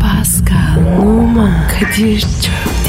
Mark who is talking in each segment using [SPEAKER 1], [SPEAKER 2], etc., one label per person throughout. [SPEAKER 1] Pascal, Oman, Kadir çok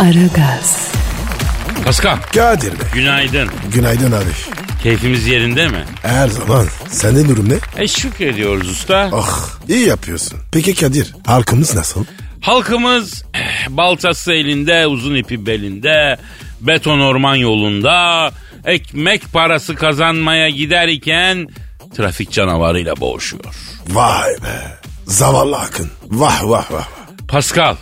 [SPEAKER 1] Aragaz,
[SPEAKER 2] Paskal.
[SPEAKER 3] Kadir be.
[SPEAKER 2] Günaydın.
[SPEAKER 3] Günaydın abi.
[SPEAKER 2] Keyfimiz yerinde mi?
[SPEAKER 3] Her zaman. Sende durum ne?
[SPEAKER 2] E şükrediyoruz usta.
[SPEAKER 3] Ah iyi yapıyorsun. Peki Kadir halkımız nasıl?
[SPEAKER 2] Halkımız eh, baltası elinde, uzun ipi belinde, beton orman yolunda, ekmek parası kazanmaya giderken trafik canavarıyla boğuşuyor.
[SPEAKER 3] Vay be. Zavallı Akın. Vah vah vah.
[SPEAKER 2] Pascal,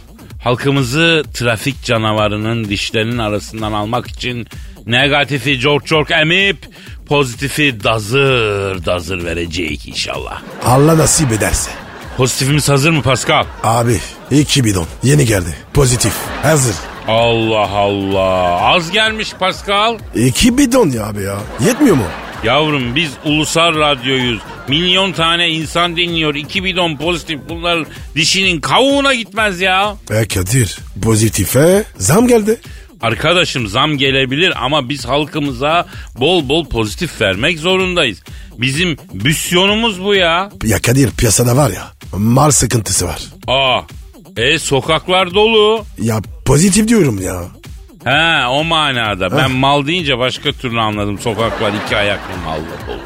[SPEAKER 2] halkımızı trafik canavarının dişlerinin arasından almak için negatifi çok çok emip pozitifi dazır dazır verecek inşallah.
[SPEAKER 3] Allah nasip ederse.
[SPEAKER 2] Pozitifimiz hazır mı Pascal?
[SPEAKER 3] Abi iki bidon yeni geldi. Pozitif. Hazır.
[SPEAKER 2] Allah Allah. Az gelmiş Pascal.
[SPEAKER 3] İki bidon ya abi ya. Yetmiyor mu?
[SPEAKER 2] Yavrum biz ulusal radyoyuz. Milyon tane insan dinliyor. İki bidon pozitif bunların dişinin kavuğuna gitmez ya.
[SPEAKER 3] E Kadir pozitife zam geldi.
[SPEAKER 2] Arkadaşım zam gelebilir ama biz halkımıza bol bol pozitif vermek zorundayız. Bizim büsyonumuz bu ya.
[SPEAKER 3] Ya Kadir piyasada var ya mal sıkıntısı var.
[SPEAKER 2] Aa, e sokaklar dolu.
[SPEAKER 3] Ya pozitif diyorum ya.
[SPEAKER 2] He o manada. Ben mal deyince başka türlü anladım. Sokaklar iki ayaklı mal oldu.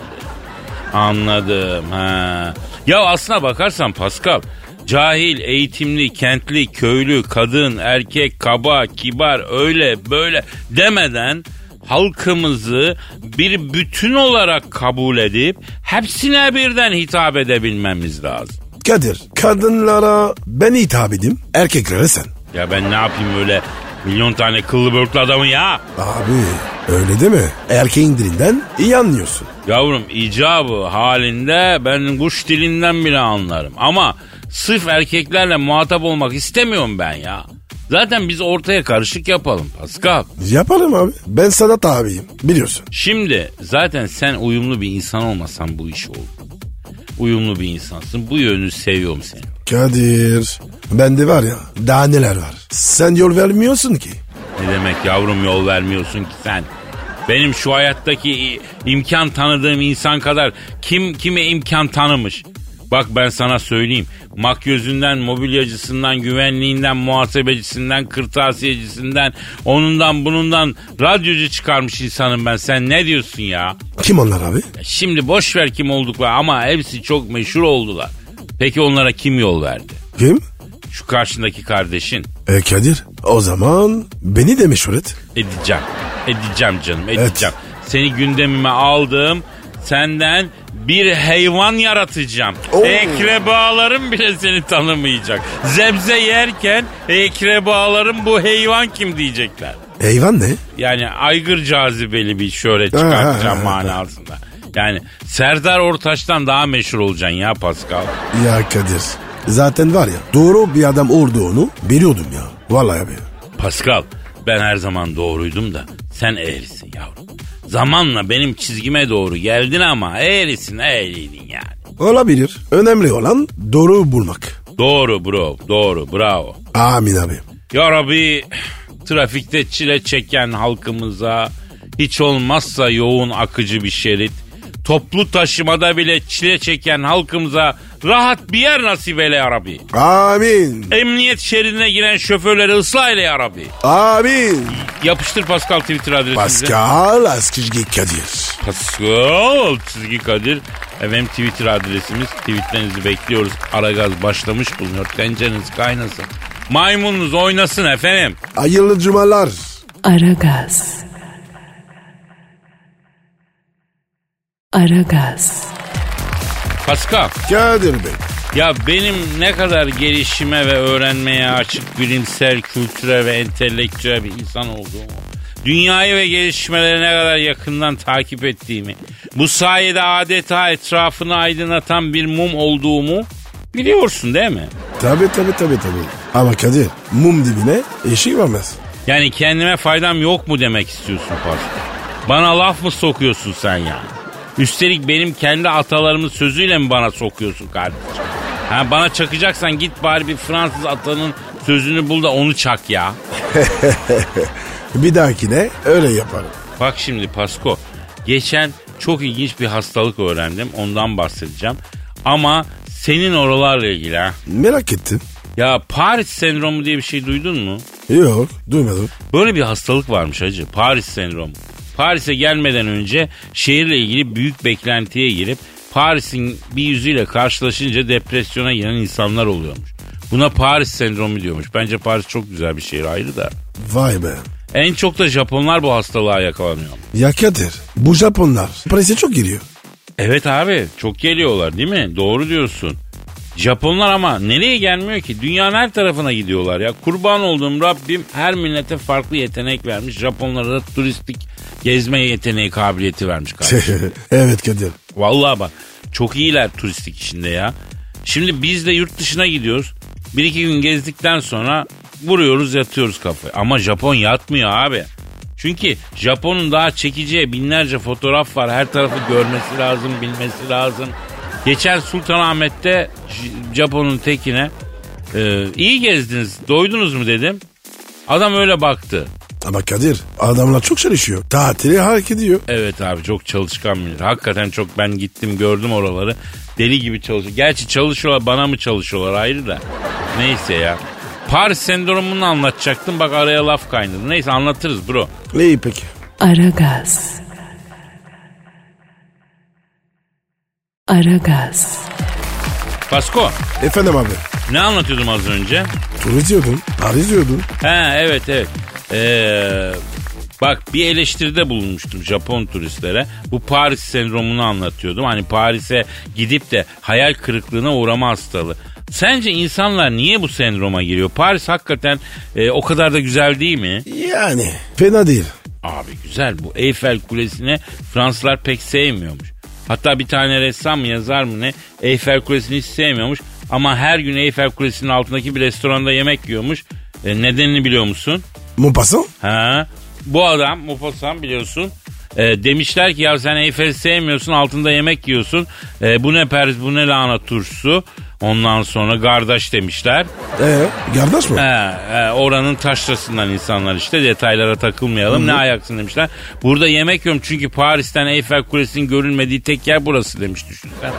[SPEAKER 2] Anladım. He. Ya aslına bakarsan Pascal. Cahil, eğitimli, kentli, köylü, kadın, erkek, kaba, kibar öyle böyle demeden halkımızı bir bütün olarak kabul edip hepsine birden hitap edebilmemiz lazım.
[SPEAKER 3] Kadir kadınlara ben hitap edeyim erkeklere sen.
[SPEAKER 2] Ya ben ne yapayım öyle milyon tane kıllı börklü adamı ya?
[SPEAKER 3] Abi öyle değil mi? Erkeğin dilinden iyi anlıyorsun.
[SPEAKER 2] Yavrum icabı halinde ben kuş dilinden bile anlarım. Ama sırf erkeklerle muhatap olmak istemiyorum ben ya. Zaten biz ortaya karışık yapalım Pascal.
[SPEAKER 3] Yaparım abi. Ben sana tabiyim biliyorsun.
[SPEAKER 2] Şimdi zaten sen uyumlu bir insan olmasan bu iş oldu. Uyumlu bir insansın. Bu yönünü seviyorum seni.
[SPEAKER 3] Kadir bende var ya daha neler var. Sen yol vermiyorsun ki.
[SPEAKER 2] Ne demek yavrum yol vermiyorsun ki sen? Benim şu hayattaki i- imkan tanıdığım insan kadar kim kime imkan tanımış? Bak ben sana söyleyeyim. Makyözünden, mobilyacısından, güvenliğinden, muhasebecisinden, kırtasiyecisinden, onundan bunundan radyocu çıkarmış insanım ben. Sen ne diyorsun ya?
[SPEAKER 3] Kim onlar abi?
[SPEAKER 2] Ya Şimdi boş ver kim oldukları ama hepsi çok meşhur oldular. Peki onlara kim yol verdi?
[SPEAKER 3] Kim?
[SPEAKER 2] Şu karşındaki kardeşin.
[SPEAKER 3] E Kadir o zaman beni de meşhur et.
[SPEAKER 2] Edeceğim. Edeceğim canım edeceğim. Seni gündemime aldım. Senden bir hayvan yaratacağım.
[SPEAKER 3] Oo.
[SPEAKER 2] Ekrebalarım bile seni tanımayacak. Zebze yerken ekrebalarım bu hayvan kim diyecekler.
[SPEAKER 3] Eyvan ne?
[SPEAKER 2] Yani aygır cazibeli bir şöyle çıkartacağım
[SPEAKER 3] Ha, ha, ha, ha.
[SPEAKER 2] manasında. Yani Serdar Ortaç'tan daha meşhur olacaksın ya Pascal.
[SPEAKER 3] Ya Kadir zaten var ya doğru bir adam olduğunu biliyordum ya. Vallahi abi.
[SPEAKER 2] Pascal ben her zaman doğruydum da sen eğrisin yavrum. Zamanla benim çizgime doğru geldin ama eğrisin eğriydin yani.
[SPEAKER 3] Olabilir. Önemli olan doğru bulmak.
[SPEAKER 2] Doğru bro doğru bravo.
[SPEAKER 3] Amin abi.
[SPEAKER 2] Ya Rabbi trafikte çile çeken halkımıza hiç olmazsa yoğun akıcı bir şerit. Toplu taşımada bile çile çeken halkımıza rahat bir yer nasip eyle ya Rabbi.
[SPEAKER 3] Amin.
[SPEAKER 2] Emniyet şeridine giren şoförleri ıslah eyle ya Rabbi.
[SPEAKER 3] Amin.
[SPEAKER 2] Yapıştır Pascal Twitter adresimize.
[SPEAKER 3] Pascal Askizgi Kadir.
[SPEAKER 2] Pascal çizgi Kadir. Efendim Twitter adresimiz. Tweetlerinizi bekliyoruz. Aragaz başlamış bulunuyor. Tencereniz kaynasın. Maymununuz oynasın efendim.
[SPEAKER 3] Hayırlı cumalar.
[SPEAKER 1] Aragaz. Aragaz,
[SPEAKER 2] Pascal.
[SPEAKER 3] Kadir Bey.
[SPEAKER 2] Ya benim ne kadar gelişime ve öğrenmeye açık bilimsel, kültüre ve entelektüel bir insan olduğumu, dünyayı ve gelişmeleri ne kadar yakından takip ettiğimi, bu sayede adeta etrafını aydınlatan bir mum olduğumu Biliyorsun değil mi?
[SPEAKER 3] Tabi tabi tabi tabi. Ama Kadir mum dibine eşik varmaz.
[SPEAKER 2] Yani kendime faydam yok mu demek istiyorsun Pascal? Bana laf mı sokuyorsun sen yani? Üstelik benim kendi atalarımın sözüyle mi bana sokuyorsun kardeşim? Ha, bana çakacaksan git bari bir Fransız atanın sözünü bul da onu çak ya.
[SPEAKER 3] Bir dahakine öyle yaparım.
[SPEAKER 2] Bak şimdi Pasko. Geçen çok ilginç bir hastalık öğrendim. Ondan bahsedeceğim. Ama senin oralarla ilgili ha.
[SPEAKER 3] Merak ettim.
[SPEAKER 2] Ya Paris sendromu diye bir şey duydun mu?
[SPEAKER 3] Yok duymadım.
[SPEAKER 2] Böyle bir hastalık varmış hacı. Paris sendromu. Paris'e gelmeden önce şehirle ilgili büyük beklentiye girip Paris'in bir yüzüyle karşılaşınca depresyona giren insanlar oluyormuş. Buna Paris sendromu diyormuş. Bence Paris çok güzel bir şehir ayrı da.
[SPEAKER 3] Vay be.
[SPEAKER 2] En çok da Japonlar bu hastalığa yakalanıyor.
[SPEAKER 3] Ya Kadir bu Japonlar Paris'e çok giriyor.
[SPEAKER 2] Evet abi çok geliyorlar değil mi? Doğru diyorsun. Japonlar ama nereye gelmiyor ki? Dünyanın her tarafına gidiyorlar ya. Kurban olduğum Rabbim her millete farklı yetenek vermiş. Japonlara da turistik gezme yeteneği kabiliyeti vermiş kardeşim.
[SPEAKER 3] evet Kadir.
[SPEAKER 2] Vallahi bak çok iyiler turistik işinde ya. Şimdi biz de yurt dışına gidiyoruz. Bir iki gün gezdikten sonra vuruyoruz yatıyoruz kafayı. Ama Japon yatmıyor abi. Çünkü Japon'un daha çekeceği binlerce fotoğraf var. Her tarafı görmesi lazım, bilmesi lazım. Geçen Sultanahmet'te J- Japon'un tekine e, iyi gezdiniz, doydunuz mu dedim. Adam öyle baktı.
[SPEAKER 3] Ama Kadir adamlar çok çalışıyor. Tatili hak ediyor.
[SPEAKER 2] Evet abi çok çalışkan millet. Hakikaten çok ben gittim gördüm oraları. Deli gibi çalışıyor. Gerçi çalışıyorlar bana mı çalışıyorlar ayrı da. Neyse ya. Paris sendromunu anlatacaktım bak araya laf kaynadı. Neyse anlatırız bro.
[SPEAKER 3] İyi peki.
[SPEAKER 1] Aragaz. Aragaz.
[SPEAKER 2] Pasko
[SPEAKER 3] Efendim abi.
[SPEAKER 2] ne anlatıyordum az önce?
[SPEAKER 3] Turist diyordun. Paris diyordun.
[SPEAKER 2] Ha evet evet. Ee, bak bir eleştiride bulunmuştum Japon turistlere. Bu Paris sendromunu anlatıyordum. Hani Paris'e gidip de hayal kırıklığına uğrama hastalığı. Sence insanlar niye bu sendroma giriyor? Paris hakikaten e, o kadar da güzel değil mi?
[SPEAKER 3] Yani. Fena değil.
[SPEAKER 2] Abi güzel bu Eyfel Kulesi'ne Fransızlar pek sevmiyormuş. Hatta bir tane ressam mı yazar mı ne Eyfel Kulesi'ni hiç sevmiyormuş. Ama her gün Eyfel Kulesi'nin altındaki bir restoranda yemek yiyormuş. E, nedenini biliyor musun?
[SPEAKER 3] Montpassant?
[SPEAKER 2] Ha. Bu adam Mufasa'm biliyorsun. E, demişler ki ya sen Eyfel'i sevmiyorsun altında yemek yiyorsun. E, bu ne Paris bu ne lahana turşusu. Ondan sonra kardeş demişler.
[SPEAKER 3] Ee, kardeş mi?
[SPEAKER 2] He, he, oranın taşrasından insanlar işte detaylara takılmayalım. Ne ayaksın demişler. Burada yemek yiyorum çünkü Paris'ten Eyfel Kulesi'nin görülmediği tek yer burası demiş düşünsen.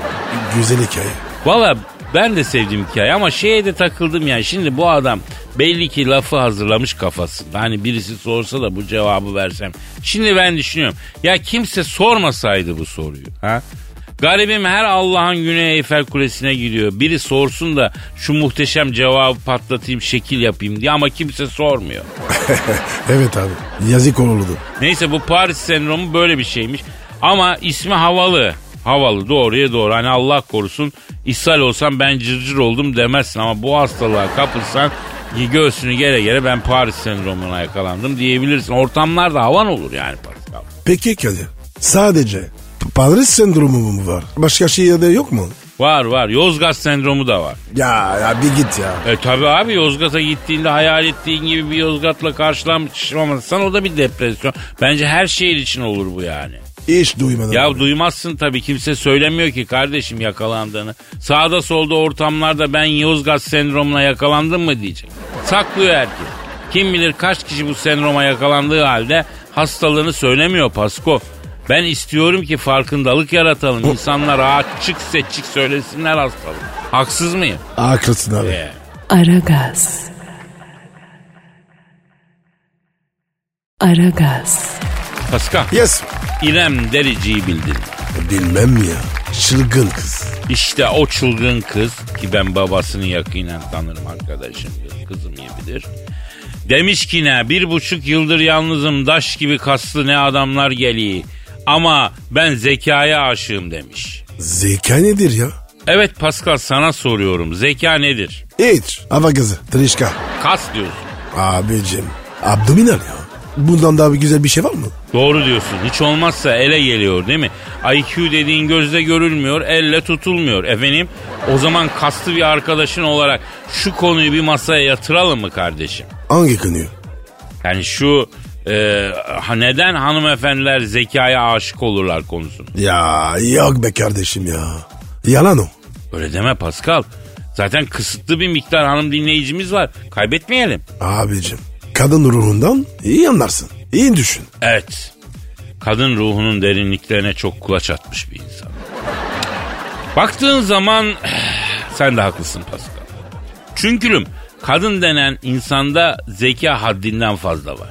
[SPEAKER 3] Güzel hikaye.
[SPEAKER 2] Valla ben de sevdiğim hikaye ama şeye de takıldım yani. Şimdi bu adam belli ki lafı hazırlamış kafasında. Hani birisi sorsa da bu cevabı versem. Şimdi ben düşünüyorum. Ya kimse sormasaydı bu soruyu. Ha? Garibim her Allah'ın Güney Eyfel Kulesi'ne gidiyor. Biri sorsun da şu muhteşem cevabı patlatayım, şekil yapayım diye ama kimse sormuyor.
[SPEAKER 3] evet abi. Yazık olurdu.
[SPEAKER 2] Neyse bu Paris sendromu böyle bir şeymiş. Ama ismi havalı. Havalı doğruya doğru. Hani Allah korusun ishal olsam ben cırcır oldum demezsin. Ama bu hastalığa kapılsan göğsünü gere gere ben Paris sendromuna yakalandım diyebilirsin. Ortamlarda havan olur yani Pascal.
[SPEAKER 3] Peki Kadir. Sadece Paris sendromu mu var? Başka şehirde yok mu?
[SPEAKER 2] Var var Yozgat sendromu da var.
[SPEAKER 3] Ya, ya bir git ya.
[SPEAKER 2] E tabi abi Yozgat'a gittiğinde hayal ettiğin gibi bir Yozgat'la karşılaşmamazsan o da bir depresyon. Bence her şehir için olur bu yani.
[SPEAKER 3] Hiç duymadım.
[SPEAKER 2] Ya
[SPEAKER 3] abi.
[SPEAKER 2] duymazsın tabii kimse söylemiyor ki kardeşim yakalandığını. Sağda solda ortamlarda ben Yozgat sendromuna yakalandım mı diyecek. Saklıyor herkes. Kim bilir kaç kişi bu sendroma yakalandığı halde hastalığını söylemiyor Pasko. Ben istiyorum ki farkındalık yaratalım. İnsanlar açık seçik söylesinler hastalığı. Haksız mıyım?
[SPEAKER 3] Haklısın abi.
[SPEAKER 2] Ee,
[SPEAKER 1] Aragaz. Aragaz.
[SPEAKER 2] Paska,
[SPEAKER 3] Yes.
[SPEAKER 2] İrem Derici'yi bildin.
[SPEAKER 3] Bilmem ya. Çılgın kız.
[SPEAKER 2] İşte o çılgın kız ki ben babasını yakinen tanırım arkadaşım. Kızım iyi bilir. Demiş ki ne bir buçuk yıldır yalnızım daş gibi kaslı ne adamlar geliyor. Ama ben zekaya aşığım demiş.
[SPEAKER 3] Zeka nedir ya?
[SPEAKER 2] Evet Pascal sana soruyorum zeka nedir?
[SPEAKER 3] Hiç. Hava kızı. Trişka.
[SPEAKER 2] Kas diyorsun.
[SPEAKER 3] Abicim. Abdominal ya. Bundan daha bir güzel bir şey var mı?
[SPEAKER 2] Doğru diyorsun. Hiç olmazsa ele geliyor değil mi? IQ dediğin gözle görülmüyor, elle tutulmuyor. Efendim o zaman kaslı bir arkadaşın olarak şu konuyu bir masaya yatıralım mı kardeşim?
[SPEAKER 3] Hangi konuyu?
[SPEAKER 2] Yani şu e, ha- neden hanımefendiler zekaya aşık olurlar konusunu.
[SPEAKER 3] Ya yok be kardeşim ya. Yalan o.
[SPEAKER 2] Öyle deme Pascal. Zaten kısıtlı bir miktar hanım dinleyicimiz var. Kaybetmeyelim.
[SPEAKER 3] Abicim kadın ruhundan iyi anlarsın. İyi düşün.
[SPEAKER 2] Evet. Kadın ruhunun derinliklerine çok kulaç atmış bir insan. Baktığın zaman sen de haklısın Pascal. Çünkülüm kadın denen insanda zeka haddinden fazla var.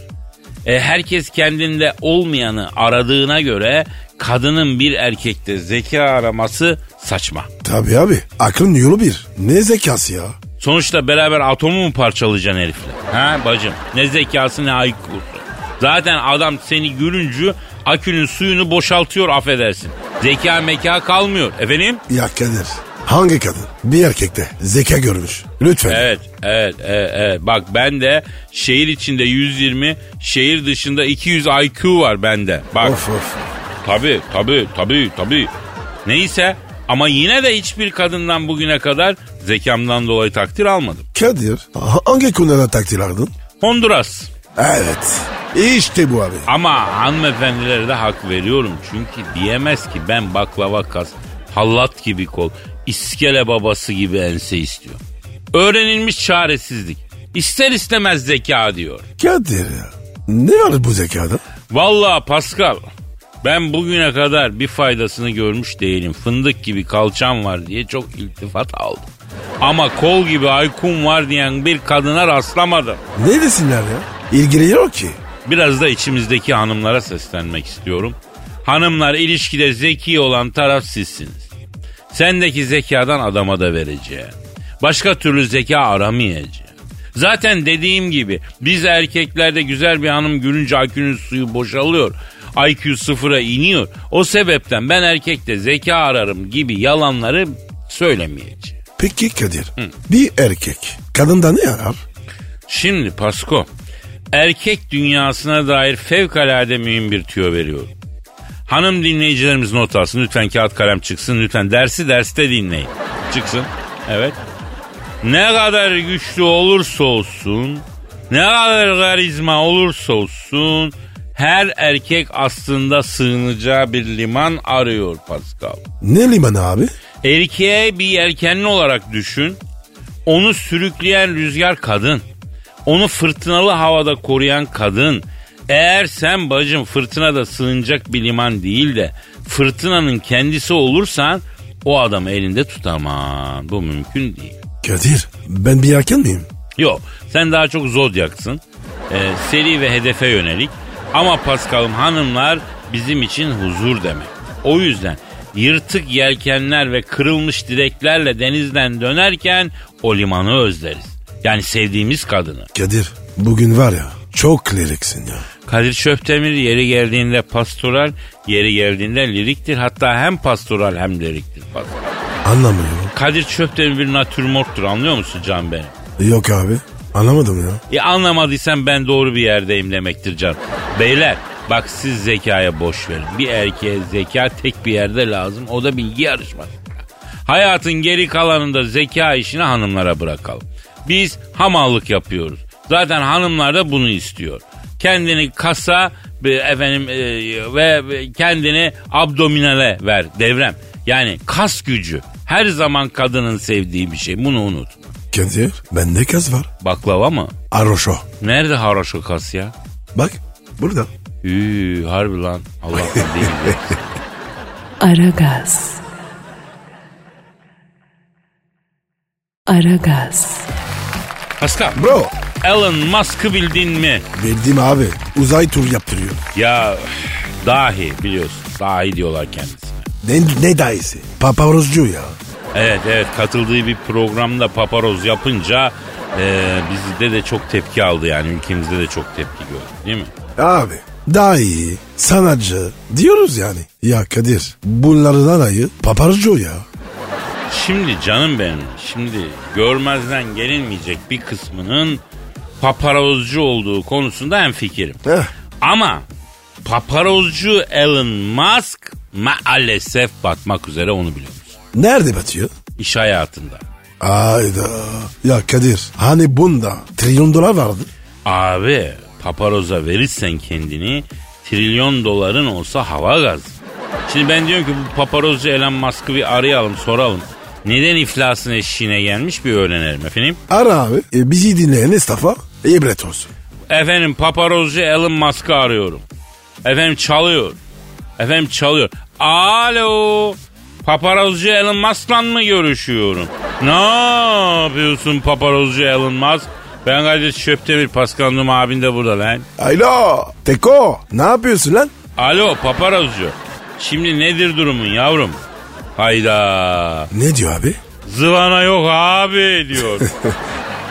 [SPEAKER 2] E, herkes kendinde olmayanı aradığına göre kadının bir erkekte zeka araması saçma.
[SPEAKER 3] Tabii abi aklın yolu bir. Ne zekası ya?
[SPEAKER 2] Sonuçta beraber atomu mu parçalayacaksın herifle? Ha bacım ne zekası ne IQ'su. Zaten adam seni görünce akünün suyunu boşaltıyor affedersin. Zeka meka kalmıyor efendim.
[SPEAKER 3] Ya Kadir hangi kadın bir erkekte zeka görmüş? Lütfen.
[SPEAKER 2] Evet, evet, evet, evet. Bak ben de şehir içinde 120, şehir dışında 200 IQ var bende. Bak.
[SPEAKER 3] Of of.
[SPEAKER 2] Tabii tabii tabii tabii. Neyse ama yine de hiçbir kadından bugüne kadar zekamdan dolayı takdir almadım.
[SPEAKER 3] Kadir ha- hangi konuda takdir aldın?
[SPEAKER 2] Honduras.
[SPEAKER 3] Evet. İşte bu abi.
[SPEAKER 2] Ama hanımefendilere de hak veriyorum. Çünkü diyemez ki ben baklava kas, hallat gibi kol, iskele babası gibi ense istiyor. Öğrenilmiş çaresizlik. İster istemez zeka diyor.
[SPEAKER 3] Kadir ya. Ne var bu zekada?
[SPEAKER 2] Vallahi Pascal ben bugüne kadar bir faydasını görmüş değilim. Fındık gibi kalçam var diye çok iltifat aldım. Ama kol gibi aykum var diyen bir kadına rastlamadım.
[SPEAKER 3] Ne desinler ya? İlgili yok ki.
[SPEAKER 2] Biraz da içimizdeki hanımlara seslenmek istiyorum. Hanımlar ilişkide zeki olan taraf sizsiniz. Sendeki zekadan adama da vereceğim. Başka türlü zeka aramayacağım. Zaten dediğim gibi biz erkeklerde güzel bir hanım görünce IQ'nun suyu boşalıyor. IQ sıfıra iniyor. O sebepten ben erkekte zeka ararım gibi yalanları söylemeyeceğim.
[SPEAKER 3] Peki Kadir bir erkek kadında ne arar?
[SPEAKER 2] Şimdi Pasko, erkek dünyasına dair fevkalade mühim bir tüyo veriyorum. Hanım dinleyicilerimiz not alsın. Lütfen kağıt kalem çıksın. Lütfen dersi derste dinleyin. Çıksın. Evet. Ne kadar güçlü olursa olsun, ne kadar karizma olursa olsun, her erkek aslında sığınacağı bir liman arıyor Pascal.
[SPEAKER 3] Ne limanı abi?
[SPEAKER 2] Erkeğe bir yelkenli olarak düşün. Onu sürükleyen rüzgar kadın. Onu fırtınalı havada koruyan kadın. Eğer sen bacım fırtınada sığınacak bir liman değil de fırtınanın kendisi olursan o adamı elinde tutamam. Bu mümkün değil.
[SPEAKER 3] Kadir ben bir erken miyim?
[SPEAKER 2] Yok sen daha çok zodyaksın. Ee, seri ve hedefe yönelik. Ama Paskal'ım hanımlar bizim için huzur demek. O yüzden yırtık yelkenler ve kırılmış direklerle denizden dönerken o limanı özleriz. Yani sevdiğimiz kadını.
[SPEAKER 3] Kadir bugün var ya çok kliriksin ya.
[SPEAKER 2] Kadir Şöptemir yeri geldiğinde pastoral, yeri geldiğinde liriktir. Hatta hem pastoral hem liriktir. Pascal.
[SPEAKER 3] Anlamıyorum.
[SPEAKER 2] Kadir Şöptemir bir natürmorttur anlıyor musun can benim?
[SPEAKER 3] Yok abi anlamadım ya.
[SPEAKER 2] E anlamadıysan ben doğru bir yerdeyim demektir can. Beyler bak siz zekaya boş verin. Bir erkeğe zeka tek bir yerde lazım. O da bilgi yarışması. Hayatın geri kalanında zeka işini hanımlara bırakalım. Biz hamallık yapıyoruz. Zaten hanımlar da bunu istiyor. Kendini kasa e, efendim e, ve ve kendini abdominale ver devrem. Yani kas gücü her zaman kadının sevdiği bir şey. Bunu unutma.
[SPEAKER 3] Kadir bende kız var.
[SPEAKER 2] Baklava mı?
[SPEAKER 3] Aroşo.
[SPEAKER 2] Nerede haroşa kas ya?
[SPEAKER 3] Bak burada.
[SPEAKER 2] Üü, harbi lan. Allah'tan değil. mi?
[SPEAKER 1] Aragaz. Aragaz.
[SPEAKER 2] Pascal,
[SPEAKER 3] Bro
[SPEAKER 2] Elon Musk'ı bildin mi?
[SPEAKER 3] bildiğim abi uzay tur yaptırıyor.
[SPEAKER 2] Ya üf, dahi biliyorsun. Dahi diyorlar kendisine.
[SPEAKER 3] Ne, ne dayısı? Paparozcu ya.
[SPEAKER 2] Evet evet katıldığı bir programda paparoz yapınca e, bizde de çok tepki aldı yani ülkemizde de çok tepki gördü değil mi?
[SPEAKER 3] Abi daha iyi sanatçı diyoruz yani. Ya Kadir bunlardan ayı paparozcu ya.
[SPEAKER 2] Şimdi canım benim şimdi görmezden gelinmeyecek bir kısmının paparozcu olduğu konusunda hem fikirim.
[SPEAKER 3] Heh.
[SPEAKER 2] Ama paparozcu Elon Musk maalesef batmak üzere onu biliyoruz.
[SPEAKER 3] Nerede batıyor?
[SPEAKER 2] İş hayatında.
[SPEAKER 3] Ayda. Ya Kadir hani bunda trilyon dolar vardı.
[SPEAKER 2] Abi paparoza verirsen kendini trilyon doların olsa hava gazı. Şimdi ben diyorum ki bu paparozcu Elon Musk'ı bir arayalım soralım. Neden iflasın eşiğine gelmiş bir öğrenelim efendim.
[SPEAKER 3] Ara abi. E, bizi dinleyen esnafa ibret olsun.
[SPEAKER 2] Efendim paparozcu Elon Musk'ı arıyorum. Efendim çalıyor. Efendim çalıyor. Alo. Paparozcu Elon Musk'la mı görüşüyorum? Ne yapıyorsun paparozcu Elon Musk? Ben Kadir Şöptemir Paskanlım abin de burada lan.
[SPEAKER 3] Alo. Teko ne yapıyorsun lan?
[SPEAKER 2] Alo paparozcu. Şimdi nedir durumun yavrum? Hayda.
[SPEAKER 3] Ne diyor abi?
[SPEAKER 2] Zıvana yok abi diyor.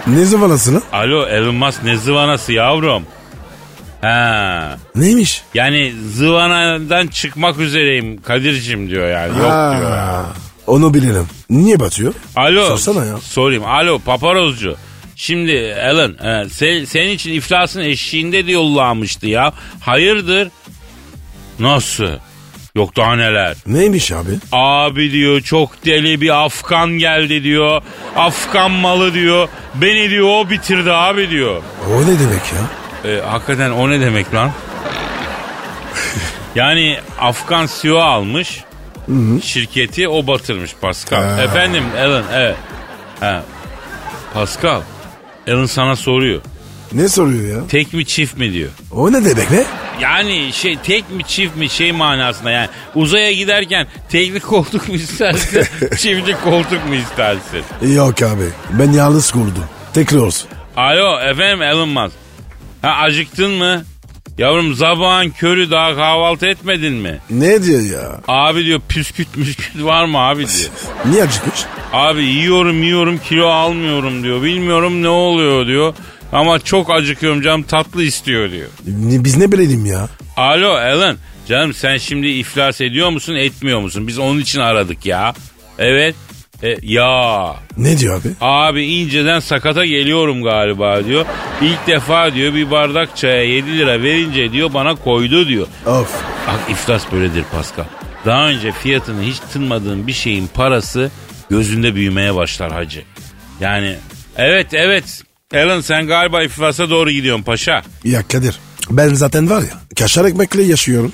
[SPEAKER 3] Ne zıvalası lan?
[SPEAKER 2] Alo Elon Musk ne zıvanası yavrum? Ha.
[SPEAKER 3] Neymiş?
[SPEAKER 2] Yani zıvanadan çıkmak üzereyim Kadir'cim diyor yani. Yok
[SPEAKER 3] Ha,
[SPEAKER 2] diyor. yani.
[SPEAKER 3] Onu bilelim. Niye batıyor?
[SPEAKER 2] Alo.
[SPEAKER 3] Sorsana ya.
[SPEAKER 2] Sorayım. Alo paparozcu. Şimdi Elon e, se- senin için iflasın eşiğinde de yollamıştı ya. Hayırdır? Nasıl? Yok daha neler.
[SPEAKER 3] Neymiş abi?
[SPEAKER 2] Abi diyor çok deli bir Afgan geldi diyor. Afgan malı diyor. Beni diyor o bitirdi abi diyor.
[SPEAKER 3] O ne demek ya?
[SPEAKER 2] E, hakikaten o ne demek lan? yani Afgan CEO almış. Şirketi o batırmış Pascal.
[SPEAKER 3] Ha.
[SPEAKER 2] Efendim Alan evet. Ha. Pascal. Alan sana soruyor.
[SPEAKER 3] Ne soruyor ya?
[SPEAKER 2] Tek mi çift mi diyor.
[SPEAKER 3] O ne demek be?
[SPEAKER 2] Yani şey tek mi çift mi şey manasında yani uzaya giderken tekli koltuk mu istersin çiftli koltuk mu istersin?
[SPEAKER 3] Yok abi. Ben yalnız kurdum. Tekrar olsun.
[SPEAKER 2] Alo efendim Elon Musk. Ha acıktın mı? Yavrum sabahın körü daha kahvaltı etmedin mi?
[SPEAKER 3] Ne diyor ya?
[SPEAKER 2] Abi diyor püsküt müsküt var mı abi diyor.
[SPEAKER 3] Niye acıkmış?
[SPEAKER 2] Abi yiyorum yiyorum kilo almıyorum diyor. Bilmiyorum ne oluyor diyor. Ama çok acıkıyorum canım tatlı istiyor diyor.
[SPEAKER 3] Ne- Biz ne bilelim ya?
[SPEAKER 2] Alo Alan canım sen şimdi iflas ediyor musun etmiyor musun? Biz onun için aradık ya. Evet. E, ya
[SPEAKER 3] Ne diyor abi?
[SPEAKER 2] abi inceden sakata geliyorum galiba diyor. İlk defa diyor bir bardak çaya 7 lira verince diyor bana koydu diyor.
[SPEAKER 3] Of.
[SPEAKER 2] Bak iflas böyledir Pascal. Daha önce fiyatını hiç tınmadığın bir şeyin parası gözünde büyümeye başlar hacı. Yani evet evet Alan sen galiba iflasa doğru gidiyorsun paşa.
[SPEAKER 3] Ya Kadir ben zaten var ya kaşar ekmekle yaşıyorum.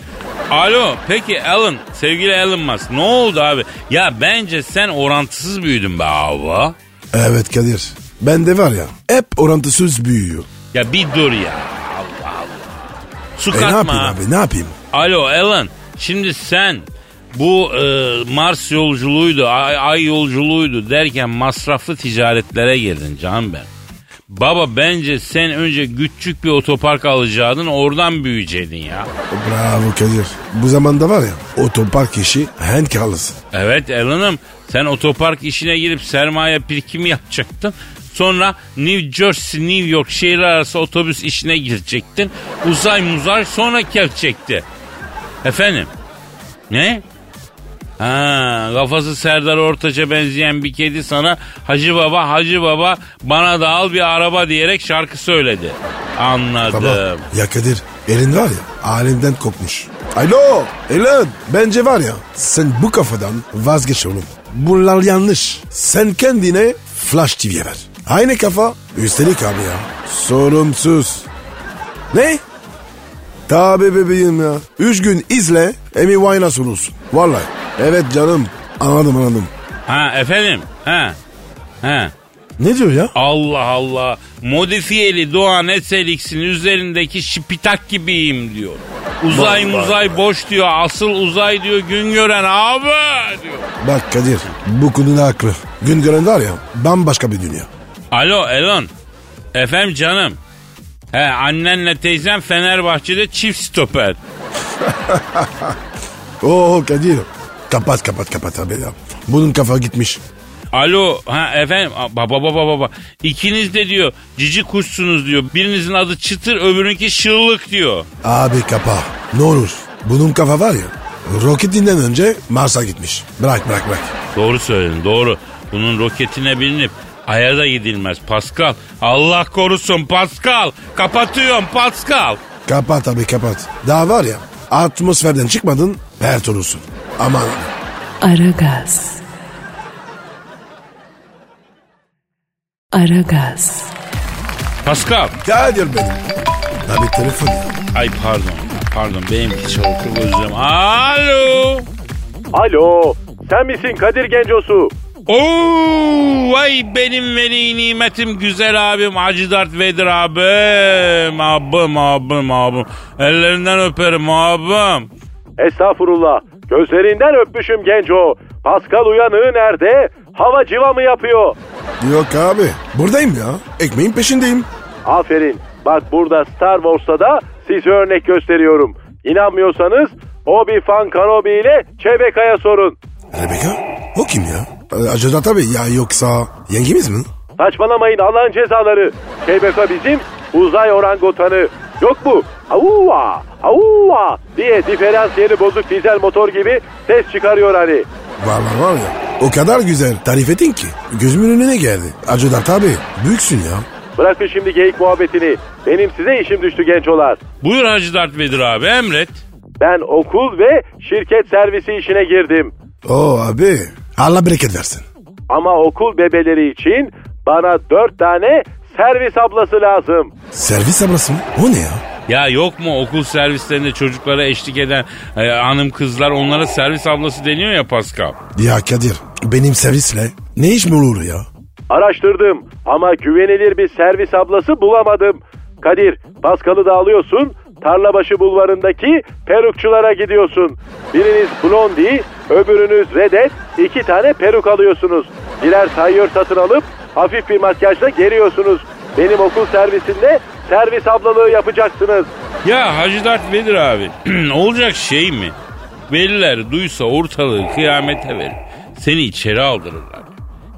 [SPEAKER 2] Alo peki Alan sevgili Alan Musk ne oldu abi? Ya bence sen orantısız büyüdün be abi.
[SPEAKER 3] Evet Kadir ben de var ya hep orantısız büyüyor.
[SPEAKER 2] Ya bir dur ya Allah Allah. Su
[SPEAKER 3] E ne
[SPEAKER 2] katma.
[SPEAKER 3] yapayım abi ne yapayım?
[SPEAKER 2] Alo Alan şimdi sen bu e, Mars yolculuğuydu, ay, ay yolculuğuydu derken masraflı ticaretlere girdin canım ben. Baba bence sen önce küçük bir otopark alacaktın oradan büyüyecektin ya.
[SPEAKER 3] Bravo Kadir bu zamanda var ya otopark işi henkarlısı.
[SPEAKER 2] Evet Alan'ım sen otopark işine girip sermaye birikimi yapacaktın. Sonra New Jersey, New York şehir arası otobüs işine girecektin. Uzay muzay sonra gelecekti. Efendim? Ne? Ha, kafası Serdar Ortaç'a benzeyen bir kedi sana Hacı Baba, Hacı Baba bana da al bir araba diyerek şarkı söyledi. Anladım.
[SPEAKER 3] Tamam. Ya Kadir elin var ya alemden kopmuş. Alo Elin bence var ya sen bu kafadan vazgeç oğlum. Bunlar yanlış. Sen kendine Flash TV'ye ver. Aynı kafa üstelik abi ya. Sorumsuz. Ne? Tabi bebeğim ya. Üç gün izle Amy Winehouse olursun. Vallahi. Evet canım. Anladım anladım.
[SPEAKER 2] Ha efendim. Ha. Ha.
[SPEAKER 3] Ne diyor ya?
[SPEAKER 2] Allah Allah. Modifiyeli Doğan Eselix'in üzerindeki şipitak gibiyim diyor. Uzay muzay boş diyor. Asıl uzay diyor gün gören abi diyor.
[SPEAKER 3] Bak Kadir bu konuda haklı. Gün gören var ya bambaşka bir dünya.
[SPEAKER 2] Alo Elon. Efendim canım. He annenle teyzem Fenerbahçe'de çift stoper.
[SPEAKER 3] Oo Kadir. Kapat kapat kapat abi ya. Bunun kafa gitmiş.
[SPEAKER 2] Alo ha efendim a- baba baba baba. İkiniz de diyor cici kuşsunuz diyor. Birinizin adı çıtır öbürünki şıllık diyor.
[SPEAKER 3] Abi kapa. Ne olur. Bunun kafa var ya. Roketinden önce Mars'a gitmiş. Bırak bırak bırak.
[SPEAKER 2] Doğru söyledin doğru. Bunun roketine binip Aya da gidilmez Pascal. Allah korusun Pascal. Kapatıyorum Pascal.
[SPEAKER 3] Kapat abi kapat. Daha var ya atmosferden çıkmadın pert olursun. Aman abi.
[SPEAKER 1] Aragaz. Aragaz.
[SPEAKER 2] Pascal.
[SPEAKER 3] Kadir benim. Abi telefon ya.
[SPEAKER 2] Ay pardon. Pardon benimki çalıyor. Çok özür dilerim. Alo.
[SPEAKER 4] Alo, sen misin Kadir Gencosu?
[SPEAKER 2] Oo, vay benim veli nimetim güzel abim Hacı Dert Vedir abim. Abim abim abim. Ellerinden öperim abim.
[SPEAKER 4] Estağfurullah, gözlerinden öpmüşüm Genco. Pascal uyanığı nerede? Hava civa mı yapıyor?
[SPEAKER 3] Yok abi. Buradayım ya. Ekmeğin peşindeyim.
[SPEAKER 4] Aferin, bak burada Star Wars'ta da size örnek gösteriyorum. İnanmıyorsanız Obi-Fan Kenobi ile Çebeka'ya sorun.
[SPEAKER 3] Rebecca? O kim ya? Ee, Acaba tabii ya yoksa yengemiz mi?
[SPEAKER 4] Saçmalamayın Allah'ın cezaları. Çebeka bizim uzay orangotanı. Yok mu? Avuva, avuva diye diferansiyeli bozuk dizel motor gibi ses çıkarıyor hani.
[SPEAKER 3] Var var var ya. O kadar güzel tarif ettin ki. Gözümün önüne geldi. Acılar tabii. Büyüksün ya.
[SPEAKER 4] Bırakın şimdi geyik muhabbetini. Benim size işim düştü gençolar.
[SPEAKER 2] Buyur Hacı Dert Vedir abi emret.
[SPEAKER 4] Ben okul ve şirket servisi işine girdim.
[SPEAKER 3] Oo abi. Allah bereket versin.
[SPEAKER 4] Ama okul bebeleri için bana dört tane servis ablası lazım.
[SPEAKER 3] Servis ablası mı? O ne ya?
[SPEAKER 2] Ya yok mu okul servislerinde çocuklara eşlik eden e, hanım kızlar onlara servis ablası deniyor ya Pascal.
[SPEAKER 3] Ya Kadir benim servisle ne iş mi olur ya?
[SPEAKER 4] Araştırdım ama güvenilir bir servis ablası bulamadım. Kadir, Paskal'ı da alıyorsun. Tarlabaşı bulvarındaki perukçulara gidiyorsun. Biriniz Blondie, öbürünüz Redet. iki tane peruk alıyorsunuz. Birer tayyör satın alıp hafif bir makyajla geliyorsunuz. Benim okul servisinde servis ablalığı yapacaksınız.
[SPEAKER 2] Ya Hacı Dert Vedir abi olacak şey mi? Veliler duysa ortalığı kıyamete verir. Seni içeri aldırırlar.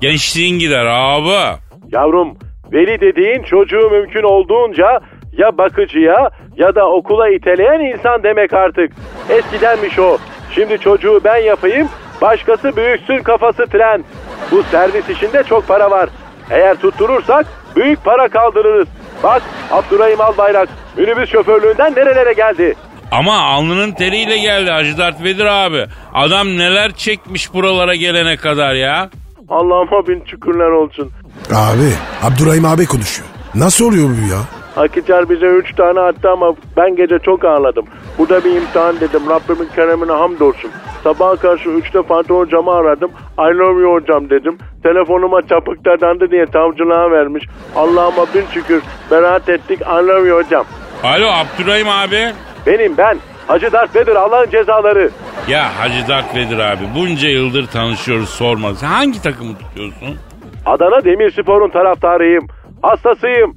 [SPEAKER 2] Gençliğin gider abi.
[SPEAKER 4] Yavrum, veli dediğin çocuğu mümkün olduğunca ya bakıcıya ya da okula iteleyen insan demek artık. Eskidenmiş o. Şimdi çocuğu ben yapayım, başkası büyüksün kafası tren. Bu servis işinde çok para var. Eğer tutturursak büyük para kaldırırız. Bak Abdurrahim Albayrak minibüs şoförlüğünden nerelere geldi.
[SPEAKER 2] Ama alnının teriyle geldi Hacı Dert Vedir abi. Adam neler çekmiş buralara gelene kadar ya.
[SPEAKER 4] Allah'ıma bin şükürler olsun.
[SPEAKER 3] Abi Abdurrahim abi konuşuyor. Nasıl oluyor bu ya?
[SPEAKER 4] Hakicar bize üç tane attı ama ben gece çok ağladım. Bu da bir imtihan dedim. Rabbimin keremine hamdolsun. Sabaha karşı üçte Fatih hocamı aradım. I love you hocam dedim. Telefonuma çapık dadandı diye savcılığa vermiş. Allah'ıma bin şükür beraat ettik. I love you hocam.
[SPEAKER 2] Alo Abdurrahim abi.
[SPEAKER 4] Benim ben. Hacı Dert Bedir Allah'ın cezaları.
[SPEAKER 2] Ya Hacı Dert Vedir abi bunca yıldır tanışıyoruz sorma. Sen hangi takımı tutuyorsun?
[SPEAKER 4] Adana Demirspor'un taraftarıyım. Hastasıyım.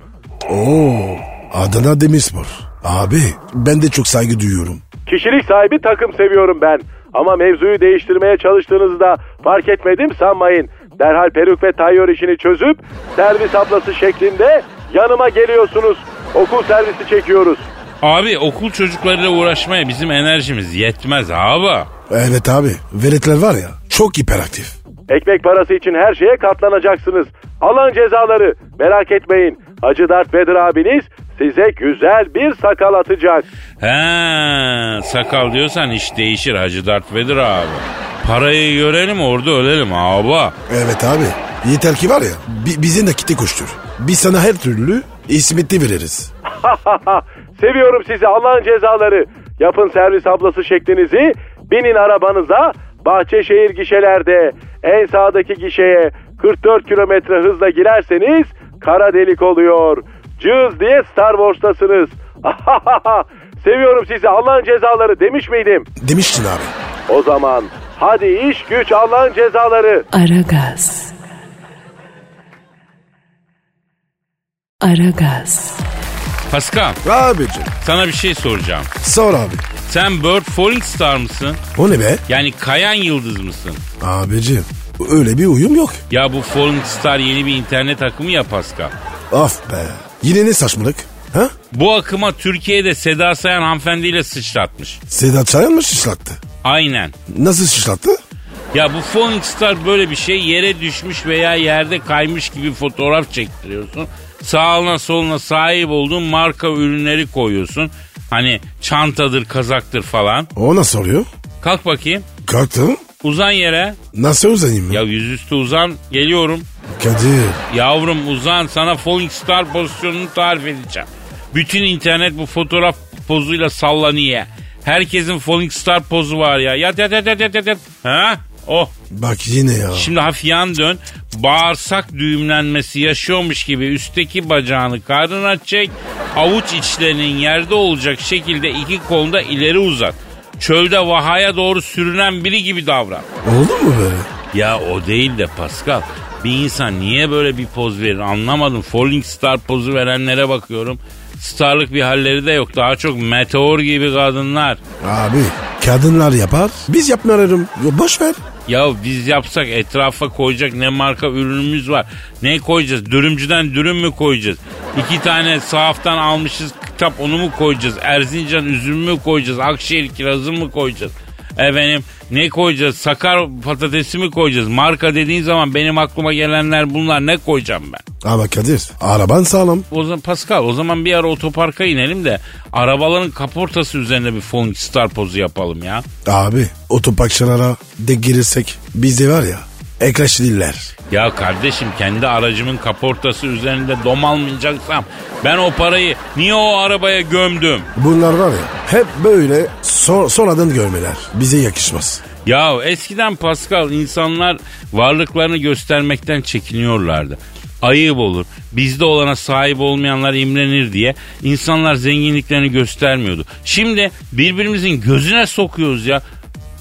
[SPEAKER 3] Oo Adana Demirspor. Abi ben de çok saygı duyuyorum.
[SPEAKER 4] Kişilik sahibi takım seviyorum ben. Ama mevzuyu değiştirmeye çalıştığınızda fark etmedim sanmayın. Derhal peruk ve tayyör işini çözüp servis ablası şeklinde yanıma geliyorsunuz. Okul servisi çekiyoruz.
[SPEAKER 2] Abi okul çocuklarıyla uğraşmaya bizim enerjimiz yetmez abi.
[SPEAKER 3] Evet abi veletler var ya çok hiperaktif.
[SPEAKER 4] Ekmek parası için her şeye katlanacaksınız. Alan cezaları merak etmeyin. Hacı Dert Vedir abiniz size güzel bir sakal atacak.
[SPEAKER 2] He sakal diyorsan iş değişir Hacı Dert Vedir abi. Parayı görelim orada ölelim abi.
[SPEAKER 3] Evet abi yeter ki var ya bi- bizim de kiti koştur. Biz sana her türlü ismetli veririz.
[SPEAKER 4] Seviyorum sizi Allah'ın cezaları. Yapın servis ablası şeklinizi. Binin arabanıza. Bahçeşehir gişelerde en sağdaki gişeye 44 kilometre hızla girerseniz kara delik oluyor. Cız diye Star Wars'tasınız. Seviyorum sizi Allah'ın cezaları demiş miydim?
[SPEAKER 3] Demiştin abi.
[SPEAKER 4] O zaman hadi iş güç Allah'ın cezaları.
[SPEAKER 1] Aragaz. Aragaz.
[SPEAKER 2] Pascal
[SPEAKER 3] Abicim
[SPEAKER 2] sana bir şey soracağım.
[SPEAKER 3] sor abi.
[SPEAKER 2] Sen Bird Falling Star mısın?
[SPEAKER 3] O ne be?
[SPEAKER 2] Yani kayan yıldız mısın?
[SPEAKER 3] Abicim öyle bir uyum yok.
[SPEAKER 2] Ya bu Falling Star yeni bir internet akımı ya Pascal.
[SPEAKER 3] Af be. Yine ne saçmalık? Ha?
[SPEAKER 2] Bu akıma Türkiye'de Seda Sayan hanımefendiyle sıçratmış.
[SPEAKER 3] Sedat Sayan mı şişlattı?
[SPEAKER 2] Aynen.
[SPEAKER 3] Nasıl şişlattı?
[SPEAKER 2] Ya bu Phoenix Star böyle bir şey yere düşmüş veya yerde kaymış gibi fotoğraf çektiriyorsun. Sağına soluna sahip olduğun marka ürünleri koyuyorsun. Hani çantadır, kazaktır falan.
[SPEAKER 3] O nasıl oluyor?
[SPEAKER 2] Kalk bakayım.
[SPEAKER 3] Kalktım.
[SPEAKER 2] Uzan yere.
[SPEAKER 3] Nasıl uzanayım ben?
[SPEAKER 2] Ya yüzüstü uzan. Geliyorum.
[SPEAKER 3] Kadir.
[SPEAKER 2] Yavrum uzan sana Falling Star pozisyonunu tarif edeceğim. Bütün internet bu fotoğraf pozuyla sallanıyor. Herkesin Falling Star pozu var ya. Yat yat yat yat yat yat. yat. Ha? Oh.
[SPEAKER 3] Bak yine ya.
[SPEAKER 2] Şimdi hafif yan dön. Bağırsak düğümlenmesi yaşıyormuş gibi üstteki bacağını karnına çek. Avuç içlerinin yerde olacak şekilde iki kolunda ileri uzat. Çölde vahaya doğru sürünen biri gibi davran.
[SPEAKER 3] Oldu mu böyle?
[SPEAKER 2] Ya o değil de Pascal. Bir insan niye böyle bir poz verir anlamadım. Falling star pozu verenlere bakıyorum. Starlık bir halleri de yok. Daha çok meteor gibi kadınlar.
[SPEAKER 3] Abi kadınlar yapar. Biz yapmayalım. Ya boş ver.
[SPEAKER 2] Ya biz yapsak etrafa koyacak ne marka ürünümüz var. Ne koyacağız? Dürümcüden dürüm mü koyacağız? İki tane sahaftan almışız kitap onu mu koyacağız? Erzincan üzümü mü koyacağız? Akşehir kirazı mı koyacağız? Efendim ne koyacağız? Sakar patatesi mi koyacağız? Marka dediğin zaman benim aklıma gelenler bunlar ne koyacağım ben?
[SPEAKER 3] Ama Kadir araban sağlam.
[SPEAKER 2] O zaman Pascal o zaman bir ara otoparka inelim de arabaların kaportası üzerine bir Falling Star pozu yapalım ya.
[SPEAKER 3] Abi otopakçılara de girirsek bizde var ya ekleştirirler.
[SPEAKER 2] Ya kardeşim kendi aracımın kaportası üzerinde dom almayacaksam ben o parayı niye o arabaya gömdüm?
[SPEAKER 3] Bunlar var ya hep böyle so- sonradan görmeler. Bize yakışmaz.
[SPEAKER 2] Ya eskiden Pascal insanlar varlıklarını göstermekten çekiniyorlardı. Ayıp olur. Bizde olana sahip olmayanlar imrenir diye insanlar zenginliklerini göstermiyordu. Şimdi birbirimizin gözüne sokuyoruz ya.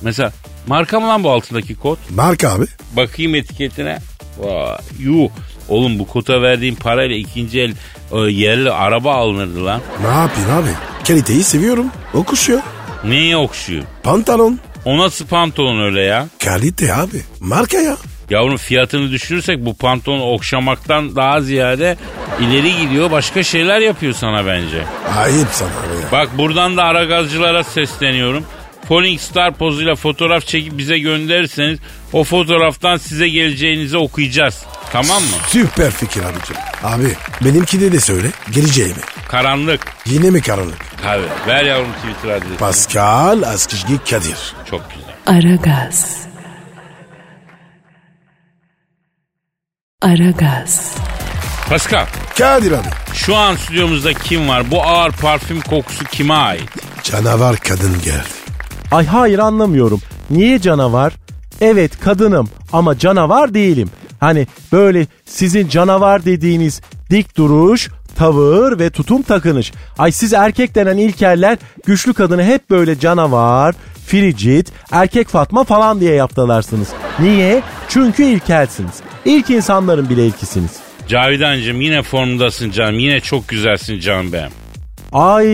[SPEAKER 2] Mesela marka mı lan bu altındaki kod?
[SPEAKER 3] Marka abi.
[SPEAKER 2] Bakayım etiketine. Vay yuh. Oğlum bu kota verdiğim parayla ikinci el e, yerli araba alınırdı lan.
[SPEAKER 3] Ne yapayım abi? Kaliteyi seviyorum. O kuşuyor.
[SPEAKER 2] Neye okşuyor?
[SPEAKER 3] Pantolon.
[SPEAKER 2] O nasıl pantolon öyle ya?
[SPEAKER 3] Kalite abi. Marka ya.
[SPEAKER 2] Yavrum fiyatını düşürürsek bu pantolonu okşamaktan daha ziyade ileri gidiyor. Başka şeyler yapıyor sana bence.
[SPEAKER 3] Ayıp sana abi ya.
[SPEAKER 2] Bak buradan da ara gazcılara sesleniyorum. Falling Star pozuyla fotoğraf çekip bize gönderirseniz o fotoğraftan size geleceğinizi okuyacağız. Tamam mı?
[SPEAKER 3] Süper fikir abicim. Abi benimki de de söyle. Geleceğimi.
[SPEAKER 2] Karanlık.
[SPEAKER 3] Yine mi karanlık?
[SPEAKER 2] Tabii. Ver yavrum Twitter adresini.
[SPEAKER 3] Pascal Askışgi Kadir.
[SPEAKER 2] Çok güzel.
[SPEAKER 1] Aragaz. Aragaz.
[SPEAKER 2] Pascal
[SPEAKER 3] Kadir abi.
[SPEAKER 2] şu an stüdyomuzda kim var? Bu ağır parfüm kokusu kime ait?
[SPEAKER 3] Canavar kadın geldi.
[SPEAKER 4] Ay hayır anlamıyorum. Niye canavar? Evet kadınım ama canavar değilim. Hani böyle sizin canavar dediğiniz dik duruş, tavır ve tutum takınış. Ay siz erkek denen ilkeller güçlü kadını hep böyle canavar, fricit, erkek Fatma falan diye yaftalarsınız. Niye? Çünkü ilkelsiniz. İlk insanların bile ilkisiniz.
[SPEAKER 2] Cavidancığım yine formdasın canım. Yine çok güzelsin canım benim.
[SPEAKER 4] Ay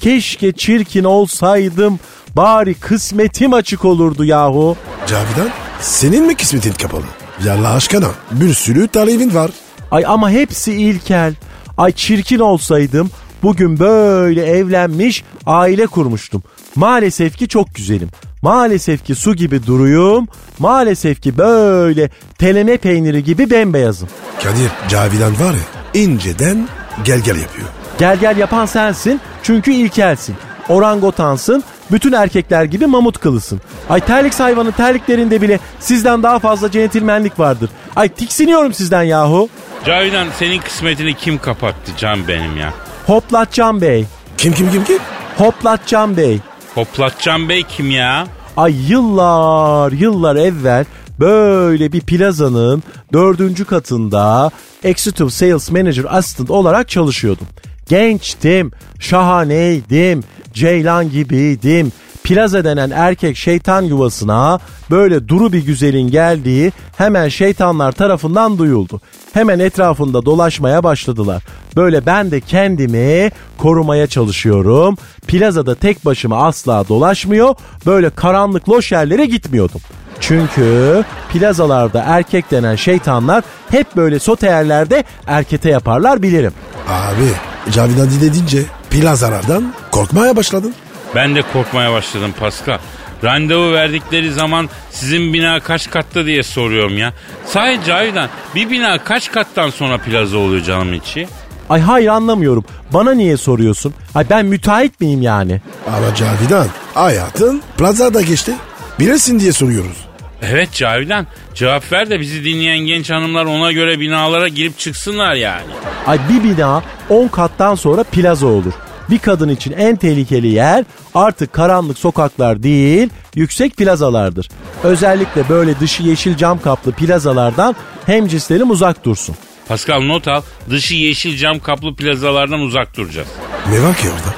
[SPEAKER 4] keşke çirkin olsaydım. Bari kısmetim açık olurdu yahu.
[SPEAKER 3] Cavidan senin mi kısmetin kapalı? Ya Allah aşkına bir sürü talebin var.
[SPEAKER 4] Ay ama hepsi ilkel. Ay çirkin olsaydım bugün böyle evlenmiş aile kurmuştum. Maalesef ki çok güzelim. Maalesef ki su gibi duruyum. Maalesef ki böyle teleme peyniri gibi bembeyazım.
[SPEAKER 3] Kadir Cavidan var ya inceden gel gel yapıyor.
[SPEAKER 4] Gel gel yapan sensin çünkü ilkelsin. Orangotansın, bütün erkekler gibi mamut kılısın. Ay terlik hayvanın terliklerinde bile sizden daha fazla centilmenlik vardır. Ay tiksiniyorum sizden yahu.
[SPEAKER 2] Cavidan senin kısmetini kim kapattı canım benim ya?
[SPEAKER 4] Hoplatcan Bey,
[SPEAKER 3] Kim kim kim kim?
[SPEAKER 4] Hoplatcan Bey.
[SPEAKER 2] Hoplatcan Bey kim ya?
[SPEAKER 4] Ay yıllar yıllar evvel böyle bir plazanın dördüncü katında Executive Sales Manager Assistant olarak çalışıyordum. Gençtim, şahaneydim, ceylan gibiydim. Plaza denen erkek şeytan yuvasına böyle duru bir güzelin geldiği hemen şeytanlar tarafından duyuldu. Hemen etrafında dolaşmaya başladılar. Böyle ben de kendimi korumaya çalışıyorum. Plazada tek başıma asla dolaşmıyor. Böyle karanlık loş yerlere gitmiyordum. Çünkü plazalarda erkek denen şeytanlar hep böyle soteyerlerde erkete yaparlar bilirim.
[SPEAKER 3] Abi Cavidan dinleyince plazalardan korkmaya başladın.
[SPEAKER 2] Ben de korkmaya başladım Pascal. Randevu verdikleri zaman sizin bina kaç katta diye soruyorum ya. Sahi Cavidan bir bina kaç kattan sonra plaza oluyor canım içi?
[SPEAKER 4] Ay hayır anlamıyorum. Bana niye soruyorsun? Ay ben müteahhit miyim yani?
[SPEAKER 3] Ama Cavidan hayatın plazada geçti. Bilesin diye soruyoruz.
[SPEAKER 2] Evet Cavidan cevap ver de bizi dinleyen genç hanımlar ona göre binalara girip çıksınlar yani.
[SPEAKER 4] Ay bir bina 10 kattan sonra plaza olur. Bir kadın için en tehlikeli yer artık karanlık sokaklar değil, yüksek plazalardır. Özellikle böyle dışı yeşil cam kaplı plazalardan hemcinslerim uzak dursun.
[SPEAKER 2] Pascal not al dışı yeşil cam kaplı plazalardan uzak duracağız.
[SPEAKER 3] Ne var ki orada?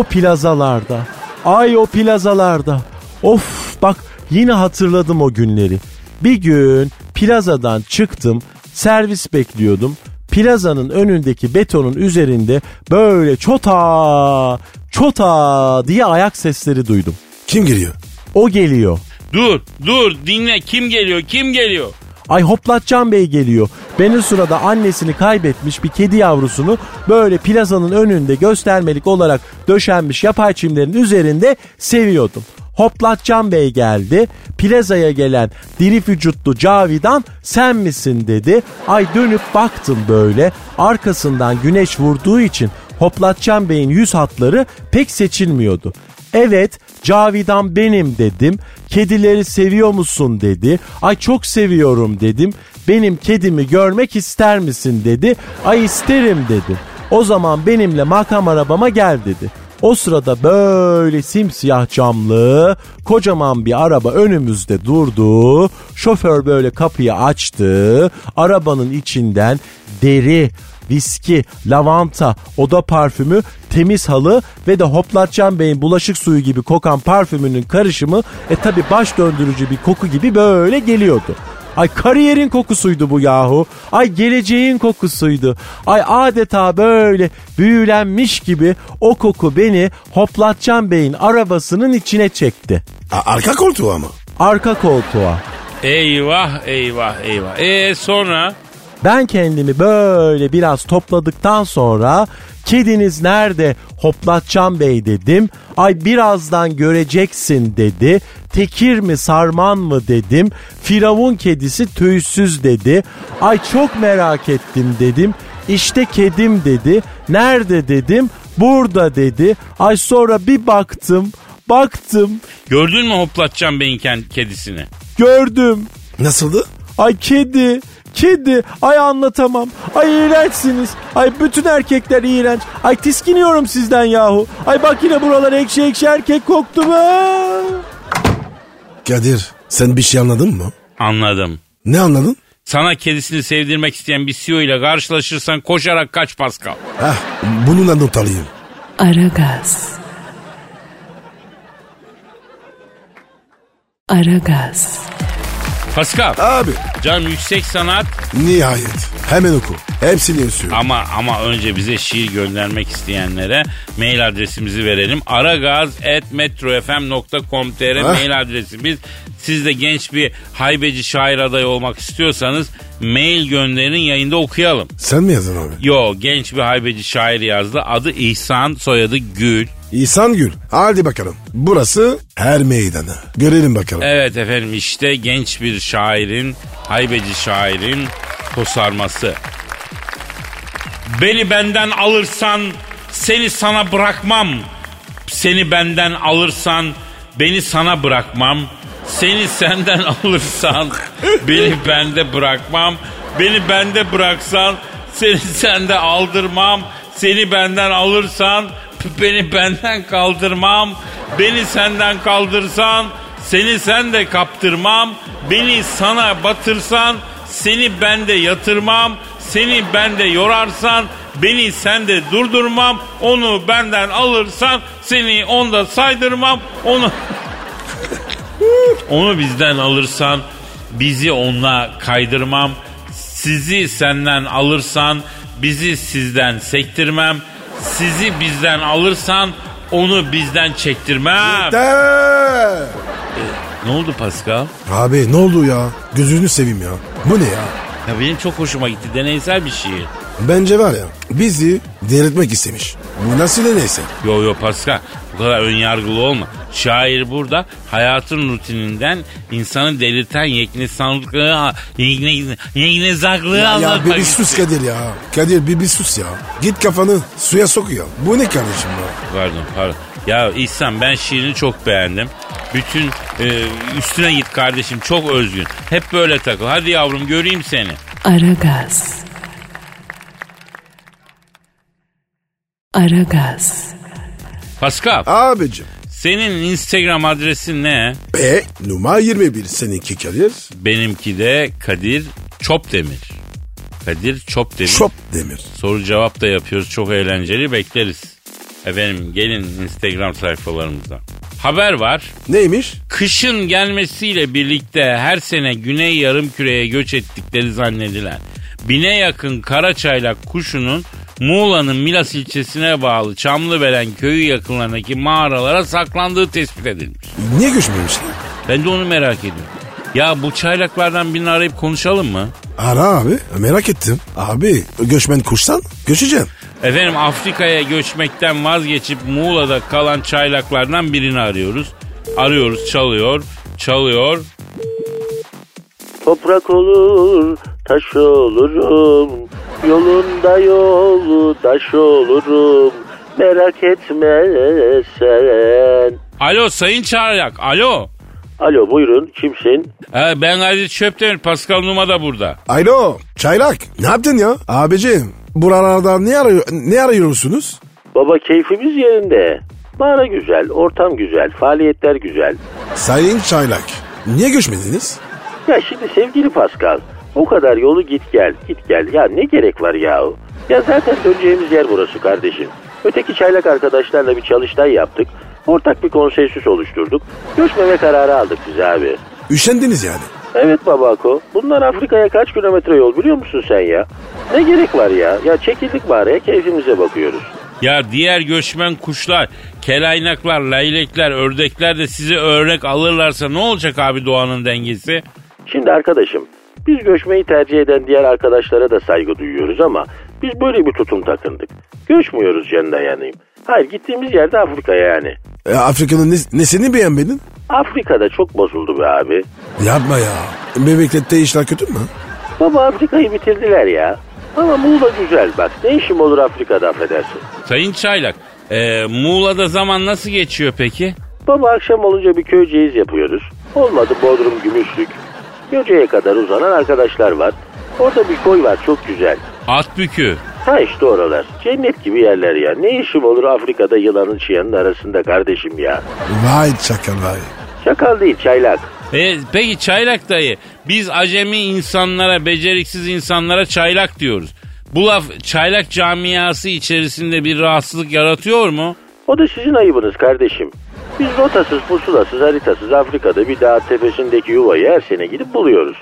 [SPEAKER 4] O plazalarda. Ay o plazalarda. Of bak yine hatırladım o günleri. Bir gün plazadan çıktım. Servis bekliyordum. Plazanın önündeki betonun üzerinde böyle çota çota diye ayak sesleri duydum.
[SPEAKER 3] Kim geliyor?
[SPEAKER 4] O geliyor.
[SPEAKER 2] Dur dur dinle kim geliyor kim geliyor?
[SPEAKER 4] Ay Hoplatcan Bey geliyor. Ben o sırada annesini kaybetmiş bir kedi yavrusunu böyle plazanın önünde göstermelik olarak döşenmiş yapay çimlerin üzerinde seviyordum. Hoplatcan Bey geldi. Plazaya gelen diri vücutlu Cavidan sen misin dedi. Ay dönüp baktım böyle. Arkasından güneş vurduğu için Hoplatcan Bey'in yüz hatları pek seçilmiyordu. Evet Cavidan benim dedim. Kedileri seviyor musun dedi. Ay çok seviyorum dedim. Benim kedimi görmek ister misin dedi. Ay isterim dedim. O zaman benimle makam arabama gel dedi. O sırada böyle simsiyah camlı kocaman bir araba önümüzde durdu. Şoför böyle kapıyı açtı. Arabanın içinden deri, viski, lavanta, oda parfümü, temiz halı ve de Hoplatcan Bey'in bulaşık suyu gibi kokan parfümünün karışımı e tabi baş döndürücü bir koku gibi böyle geliyordu. Ay kariyerin kokusuydu bu yahu. Ay geleceğin kokusuydu. Ay adeta böyle büyülenmiş gibi o koku beni Hoplatcan Bey'in arabasının içine çekti.
[SPEAKER 3] A- arka koltuğu ama.
[SPEAKER 4] Arka koltuğa.
[SPEAKER 2] Eyvah eyvah eyvah. E sonra?
[SPEAKER 4] Ben kendimi böyle biraz topladıktan sonra kediniz nerede hoplatacağım bey dedim. Ay birazdan göreceksin dedi. Tekir mi sarman mı dedim. Firavun kedisi tüysüz dedi. Ay çok merak ettim dedim. İşte kedim dedi. Nerede dedim. Burada dedi. Ay sonra bir baktım. Baktım.
[SPEAKER 2] Gördün mü hoplatacağım beyin kend- kedisini?
[SPEAKER 4] Gördüm.
[SPEAKER 3] Nasıldı?
[SPEAKER 4] Ay kedi, kedi. Ay anlatamam. Ay iğrençsiniz. Ay bütün erkekler iğrenç. Ay tiskiniyorum sizden yahu. Ay bak yine buralar ekşi ekşi erkek koktu be.
[SPEAKER 3] Kadir sen bir şey anladın mı?
[SPEAKER 2] Anladım.
[SPEAKER 3] Ne anladın?
[SPEAKER 2] Sana kedisini sevdirmek isteyen bir CEO ile karşılaşırsan koşarak kaç Pascal.
[SPEAKER 3] Hah bununla not alayım.
[SPEAKER 1] Aragaz. Aragaz.
[SPEAKER 2] Pascal,
[SPEAKER 3] Abi
[SPEAKER 2] canım yüksek sanat
[SPEAKER 3] nihayet hemen oku. Hepsini yazıyorum.
[SPEAKER 2] ama ama önce bize şiir göndermek isteyenlere mail adresimizi verelim. aragaz.metrofm.com.tr
[SPEAKER 3] Heh.
[SPEAKER 2] mail adresimiz. Siz de genç bir haybeci şair adayı olmak istiyorsanız mail gönderin yayında okuyalım.
[SPEAKER 3] Sen mi yazdın abi?
[SPEAKER 2] Yo genç bir haybeci şair yazdı. Adı İhsan, soyadı Gül.
[SPEAKER 3] İhsan Gül. Hadi bakalım. Burası her meydanı. Görelim bakalım.
[SPEAKER 2] Evet efendim işte genç bir şairin, haybeci şairin tosarması. Beni benden alırsan seni sana bırakmam. Seni benden alırsan beni sana bırakmam. Seni senden alırsan beni bende bırakmam. Beni bende bıraksan seni sende aldırmam. Seni benden alırsan beni benden kaldırmam. Beni senden kaldırsan seni sen de kaptırmam. Beni sana batırsan seni bende yatırmam. Seni bende yorarsan beni sen de durdurmam. Onu benden alırsan seni onda saydırmam. Onu onu bizden alırsan bizi onunla kaydırmam. Sizi senden alırsan bizi sizden sektirmem. Sizi bizden alırsan onu bizden çektirmem.
[SPEAKER 3] De-
[SPEAKER 2] Ne oldu Pascal?
[SPEAKER 3] Abi ne oldu ya? Gözünü seveyim ya. Bu ne ya?
[SPEAKER 2] Ya benim çok hoşuma gitti. Deneysel bir şiir.
[SPEAKER 3] Bence var ya bizi delirtmek istemiş. Bu nasıl neyse.
[SPEAKER 2] Yo yo Pascal bu kadar önyargılı olma. Şair burada hayatın rutininden insanı delirten yekne sanlıklığı, yekne, yekne zaklığı
[SPEAKER 3] Ya
[SPEAKER 2] anlatmak
[SPEAKER 3] bir, bir
[SPEAKER 2] istiyor.
[SPEAKER 3] sus Kadir ya. Kadir bir, bir sus ya. Git kafanı suya sokuyor. Bu ne kardeşim ya?
[SPEAKER 2] Pardon pardon. Ya İhsan ben şiirini çok beğendim. Bütün e, üstüne git kardeşim çok özgün. Hep böyle takıl. Hadi yavrum göreyim seni.
[SPEAKER 1] Aragaz. Aragaz.
[SPEAKER 2] Pascal
[SPEAKER 3] Abicim.
[SPEAKER 2] senin Instagram adresin ne?
[SPEAKER 3] B numara 21 seninki Kadir.
[SPEAKER 2] Benimki de Kadir Çopdemir. Kadir Çopdemir.
[SPEAKER 3] Şop demir.
[SPEAKER 2] Soru cevap da yapıyoruz. Çok eğlenceli bekleriz. Efendim gelin Instagram sayfalarımıza. Haber var.
[SPEAKER 3] Neymiş?
[SPEAKER 2] Kışın gelmesiyle birlikte her sene güney yarımküreye göç ettikleri zannedilen bine yakın Karaçaylak kuşunun Muğla'nın Milas ilçesine bağlı Çamlıbelen köyü yakınlarındaki mağaralara saklandığı tespit edilmiş.
[SPEAKER 3] Niye göçmemişler?
[SPEAKER 2] Ben de onu merak ediyorum. Ya bu çaylaklardan birini arayıp konuşalım mı?
[SPEAKER 3] Ara abi. Merak ettim. Abi göçmen kuştan göçeceğim.
[SPEAKER 2] Efendim Afrika'ya göçmekten vazgeçip Muğla'da kalan çaylaklardan birini arıyoruz. Arıyoruz çalıyor, çalıyor.
[SPEAKER 4] Toprak olur, taş olurum. Yolunda yolu taş olurum. Merak etme sen.
[SPEAKER 2] Alo sayın çaylak, alo.
[SPEAKER 4] Alo buyurun kimsin?
[SPEAKER 2] Ha, ben Kadir Çöptemir, Pascal Numa da burada.
[SPEAKER 3] Alo çaylak ne yaptın ya? Abicim buralarda ne, arıyor, ne arıyorsunuz?
[SPEAKER 4] Baba keyfimiz yerinde. Mağara güzel, ortam güzel, faaliyetler güzel.
[SPEAKER 3] Sayın çaylak niye göçmediniz?
[SPEAKER 4] Ya şimdi sevgili Pascal, bu kadar yolu git gel, git gel. Ya ne gerek var yahu? Ya zaten döneceğimiz yer burası kardeşim. Öteki çaylak arkadaşlarla bir çalıştay yaptık. Ortak bir konsensüs oluşturduk. Göçmeme kararı aldık biz abi.
[SPEAKER 3] Üşendiniz yani.
[SPEAKER 4] Evet babako. Bundan Afrika'ya kaç kilometre yol biliyor musun sen ya? Ne gerek var ya? Ya çekildik mağaraya keyfimize bakıyoruz.
[SPEAKER 2] Ya diğer göçmen kuşlar, kelaynaklar, leylekler, ördekler de size örnek alırlarsa ne olacak abi doğanın dengesi?
[SPEAKER 4] Şimdi arkadaşım biz göçmeyi tercih eden diğer arkadaşlara da saygı duyuyoruz ama biz böyle bir tutum takındık. Göçmüyoruz canına yanayım. Hayır gittiğimiz yerde Afrika'ya yani.
[SPEAKER 3] E, Afrika'nın ne, nesini beğenmedin?
[SPEAKER 4] Afrika'da çok bozuldu be abi.
[SPEAKER 3] Yapma ya. Memlekette işler kötü mü?
[SPEAKER 4] Baba Afrika'yı bitirdiler ya. Ama Muğla güzel bak. Ne işim olur Afrika'da affedersin.
[SPEAKER 2] Sayın Çaylak, e, Muğla'da zaman nasıl geçiyor peki?
[SPEAKER 4] Baba akşam olunca bir köyceğiz yapıyoruz. Olmadı Bodrum Gümüşlük. Göce'ye kadar uzanan arkadaşlar var. Orada bir koy var çok güzel.
[SPEAKER 2] At bükü.
[SPEAKER 4] Ha işte oralar. Cennet gibi yerler ya. Ne işim olur Afrika'da yılanın çıyanın arasında kardeşim ya.
[SPEAKER 3] Vay çakal vay.
[SPEAKER 4] Çakal değil çaylak.
[SPEAKER 2] E, peki çaylak dayı biz acemi insanlara beceriksiz insanlara çaylak diyoruz. Bu laf çaylak camiası içerisinde bir rahatsızlık yaratıyor mu?
[SPEAKER 4] O da sizin ayıbınız kardeşim. Biz rotasız, pusulasız, haritasız Afrika'da bir dağ tepesindeki yuvayı her sene gidip buluyoruz.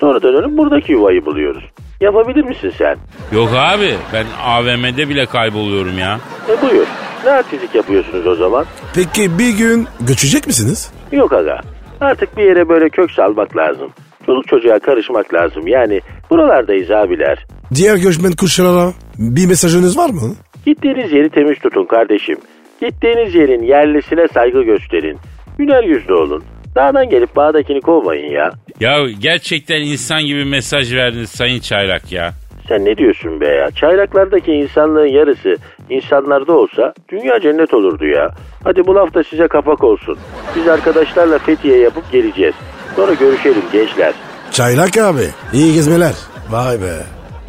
[SPEAKER 4] Sonra dönüp buradaki yuvayı buluyoruz. Yapabilir misin sen?
[SPEAKER 2] Yok abi ben AVM'de bile kayboluyorum ya.
[SPEAKER 4] E buyur. Ne artistlik yapıyorsunuz o zaman?
[SPEAKER 3] Peki bir gün göçecek misiniz?
[SPEAKER 4] Yok aga. Artık bir yere böyle kök salmak lazım. Çoluk çocuğa karışmak lazım. Yani buralardayız abiler.
[SPEAKER 3] Diğer göçmen kuşlara bir mesajınız var mı?
[SPEAKER 4] Gittiğiniz yeri temiz tutun kardeşim. Gittiğiniz yerin yerlisine saygı gösterin. Güler yüzlü olun. Dağdan gelip bağdakini kovmayın ya.
[SPEAKER 2] Ya gerçekten insan gibi mesaj verdiniz Sayın Çaylak ya.
[SPEAKER 4] Sen ne diyorsun be ya? Çaylaklardaki insanlığın yarısı insanlarda olsa dünya cennet olurdu ya. Hadi bu laf da size kapak olsun. Biz arkadaşlarla Fethiye yapıp geleceğiz. Sonra görüşelim gençler.
[SPEAKER 3] Çaylak abi. İyi gezmeler. Vay be.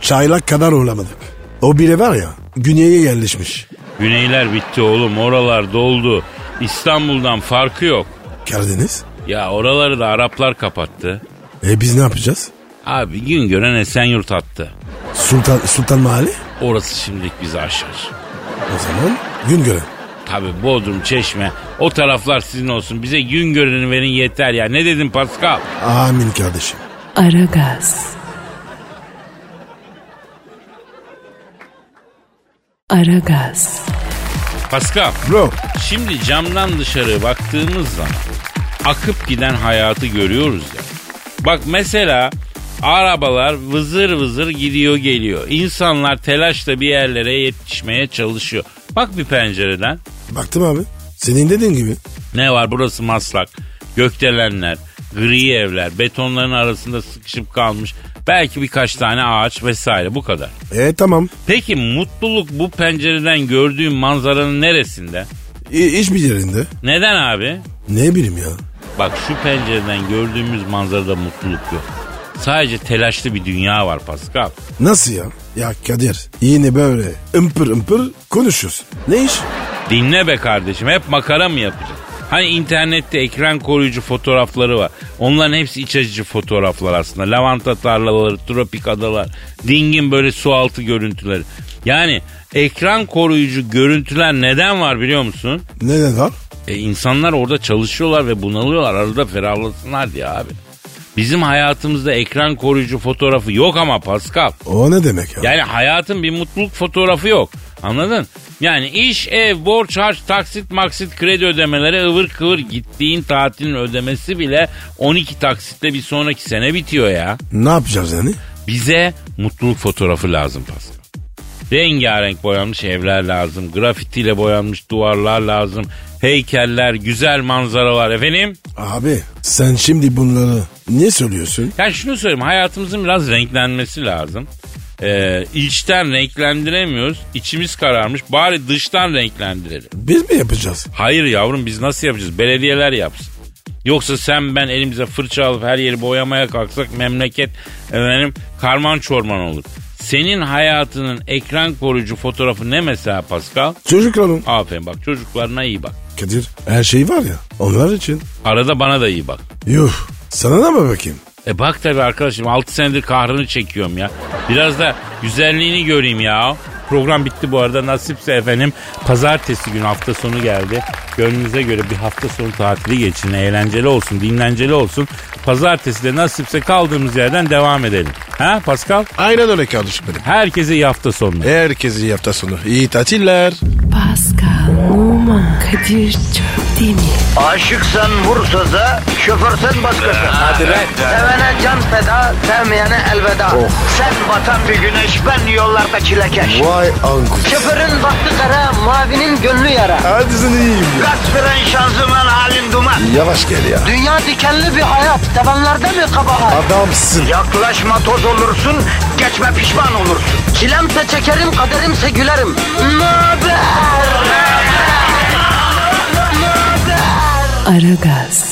[SPEAKER 3] Çaylak kadar uğramadık. O bile var ya güneye yerleşmiş.
[SPEAKER 2] Güneyler bitti oğlum oralar doldu. İstanbul'dan farkı yok.
[SPEAKER 3] Karadeniz.
[SPEAKER 2] Ya oraları da Araplar kapattı.
[SPEAKER 3] E biz ne yapacağız?
[SPEAKER 2] Abi gün gören Esenyurt attı.
[SPEAKER 3] Sultan Sultan Mahalle?
[SPEAKER 2] Orası şimdilik bizi aşar.
[SPEAKER 3] O zaman gün göre.
[SPEAKER 2] Tabi Bodrum, Çeşme o taraflar sizin olsun. Bize gün göreni verin yeter ya. Ne dedim Pascal?
[SPEAKER 3] Amin kardeşim.
[SPEAKER 1] Aragaz. Aragaz.
[SPEAKER 2] Pascal
[SPEAKER 3] Bro
[SPEAKER 2] şimdi camdan dışarı baktığımız zaman akıp giden hayatı görüyoruz ya. Bak mesela arabalar vızır vızır gidiyor geliyor. İnsanlar telaşla bir yerlere yetişmeye çalışıyor. Bak bir pencereden.
[SPEAKER 3] baktım abi. Senin dediğin gibi.
[SPEAKER 2] Ne var burası maslak, gökdelenler, gri evler, betonların arasında sıkışıp kalmış belki birkaç tane ağaç vesaire bu kadar.
[SPEAKER 3] E tamam.
[SPEAKER 2] Peki mutluluk bu pencereden gördüğün manzaranın neresinde?
[SPEAKER 3] İ- iş bir yerinde.
[SPEAKER 2] Neden abi?
[SPEAKER 3] Ne bileyim ya.
[SPEAKER 2] Bak şu pencereden gördüğümüz manzarada mutluluk yok. Sadece telaşlı bir dünya var Pascal.
[SPEAKER 3] Nasıl ya? Ya Kadir yine böyle ımpır ımpır konuşuyorsun. Ne iş?
[SPEAKER 2] Dinle be kardeşim hep makara mı yapacağız? Hani internette ekran koruyucu fotoğrafları var. Onların hepsi iç açıcı fotoğraflar aslında. Lavanta tarlaları, tropik adalar, dingin böyle su altı görüntüleri. Yani ekran koruyucu görüntüler neden var biliyor musun?
[SPEAKER 3] Neden var?
[SPEAKER 2] E insanlar orada çalışıyorlar ve bunalıyorlar. Arada ferahlasınlar diye abi. Bizim hayatımızda ekran koruyucu fotoğrafı yok ama Pascal.
[SPEAKER 3] O ne demek ya?
[SPEAKER 2] Yani hayatın bir mutluluk fotoğrafı yok. Anladın? Yani iş, ev, borç, harç, taksit, maksit, kredi ödemeleri ıvır kıvır gittiğin tatilin ödemesi bile 12 taksitle bir sonraki sene bitiyor ya.
[SPEAKER 3] Ne yapacağız yani?
[SPEAKER 2] Bize mutluluk fotoğrafı lazım Pascal. Rengarenk boyanmış evler lazım. Grafitiyle boyanmış duvarlar lazım. Heykeller, güzel manzaralar efendim.
[SPEAKER 3] Abi sen şimdi bunları ne söylüyorsun?
[SPEAKER 2] Yani şunu söyleyeyim hayatımızın biraz renklenmesi lazım. Ee, içten renklendiremiyoruz. İçimiz kararmış. Bari dıştan renklendirelim.
[SPEAKER 3] Biz mi yapacağız?
[SPEAKER 2] Hayır yavrum biz nasıl yapacağız? Belediyeler yapsın. Yoksa sen ben elimize fırça alıp her yeri boyamaya kalksak memleket efendim karman çorman olur. Senin hayatının ekran koruyucu fotoğrafı ne mesela Pascal?
[SPEAKER 3] Çocuklarım.
[SPEAKER 2] Aferin bak çocuklarına iyi bak.
[SPEAKER 3] Kadir her şey var ya onlar için.
[SPEAKER 2] Arada bana da iyi bak.
[SPEAKER 3] Yuh sana da mı bakayım?
[SPEAKER 2] E bak tabii arkadaşım 6 senedir kahrını çekiyorum ya. Biraz da güzelliğini göreyim ya. Program bitti bu arada nasipse efendim pazartesi günü hafta sonu geldi. Gönlünüze göre bir hafta sonu tatili geçin. Eğlenceli olsun, dinlenceli olsun. Pazartesi de nasipse kaldığımız yerden devam edelim. Ha Pascal?
[SPEAKER 5] Aynen öyle kardeşim benim.
[SPEAKER 2] Herkese iyi hafta sonu.
[SPEAKER 5] Herkese iyi hafta sonu. İyi tatiller.
[SPEAKER 1] Pascal, Oman, Kadir çok değil mi?
[SPEAKER 6] Aşıksan vursa da, şoförsen başkasın. Hadi
[SPEAKER 5] lan.
[SPEAKER 6] Sevene can feda, sevmeyene elveda. Sen batan bir güneş, ben yollarda çilekeş.
[SPEAKER 5] Vay anku.
[SPEAKER 3] Oh.
[SPEAKER 6] Şoförün baktı kara, mavinin gönlü yara.
[SPEAKER 5] Hadi sen iyiyim ya.
[SPEAKER 6] Kasperen şanzıman halin duman.
[SPEAKER 5] Yavaş gel ya.
[SPEAKER 6] Dünya dikenli bir hayat, sevenlerde mi kabahar?
[SPEAKER 5] Adamsın.
[SPEAKER 6] Yaklaşma toz olursun, geçme pişman olursun. Çilemse çekerim, kaderimse gülerim. Möber!
[SPEAKER 1] Aragaz.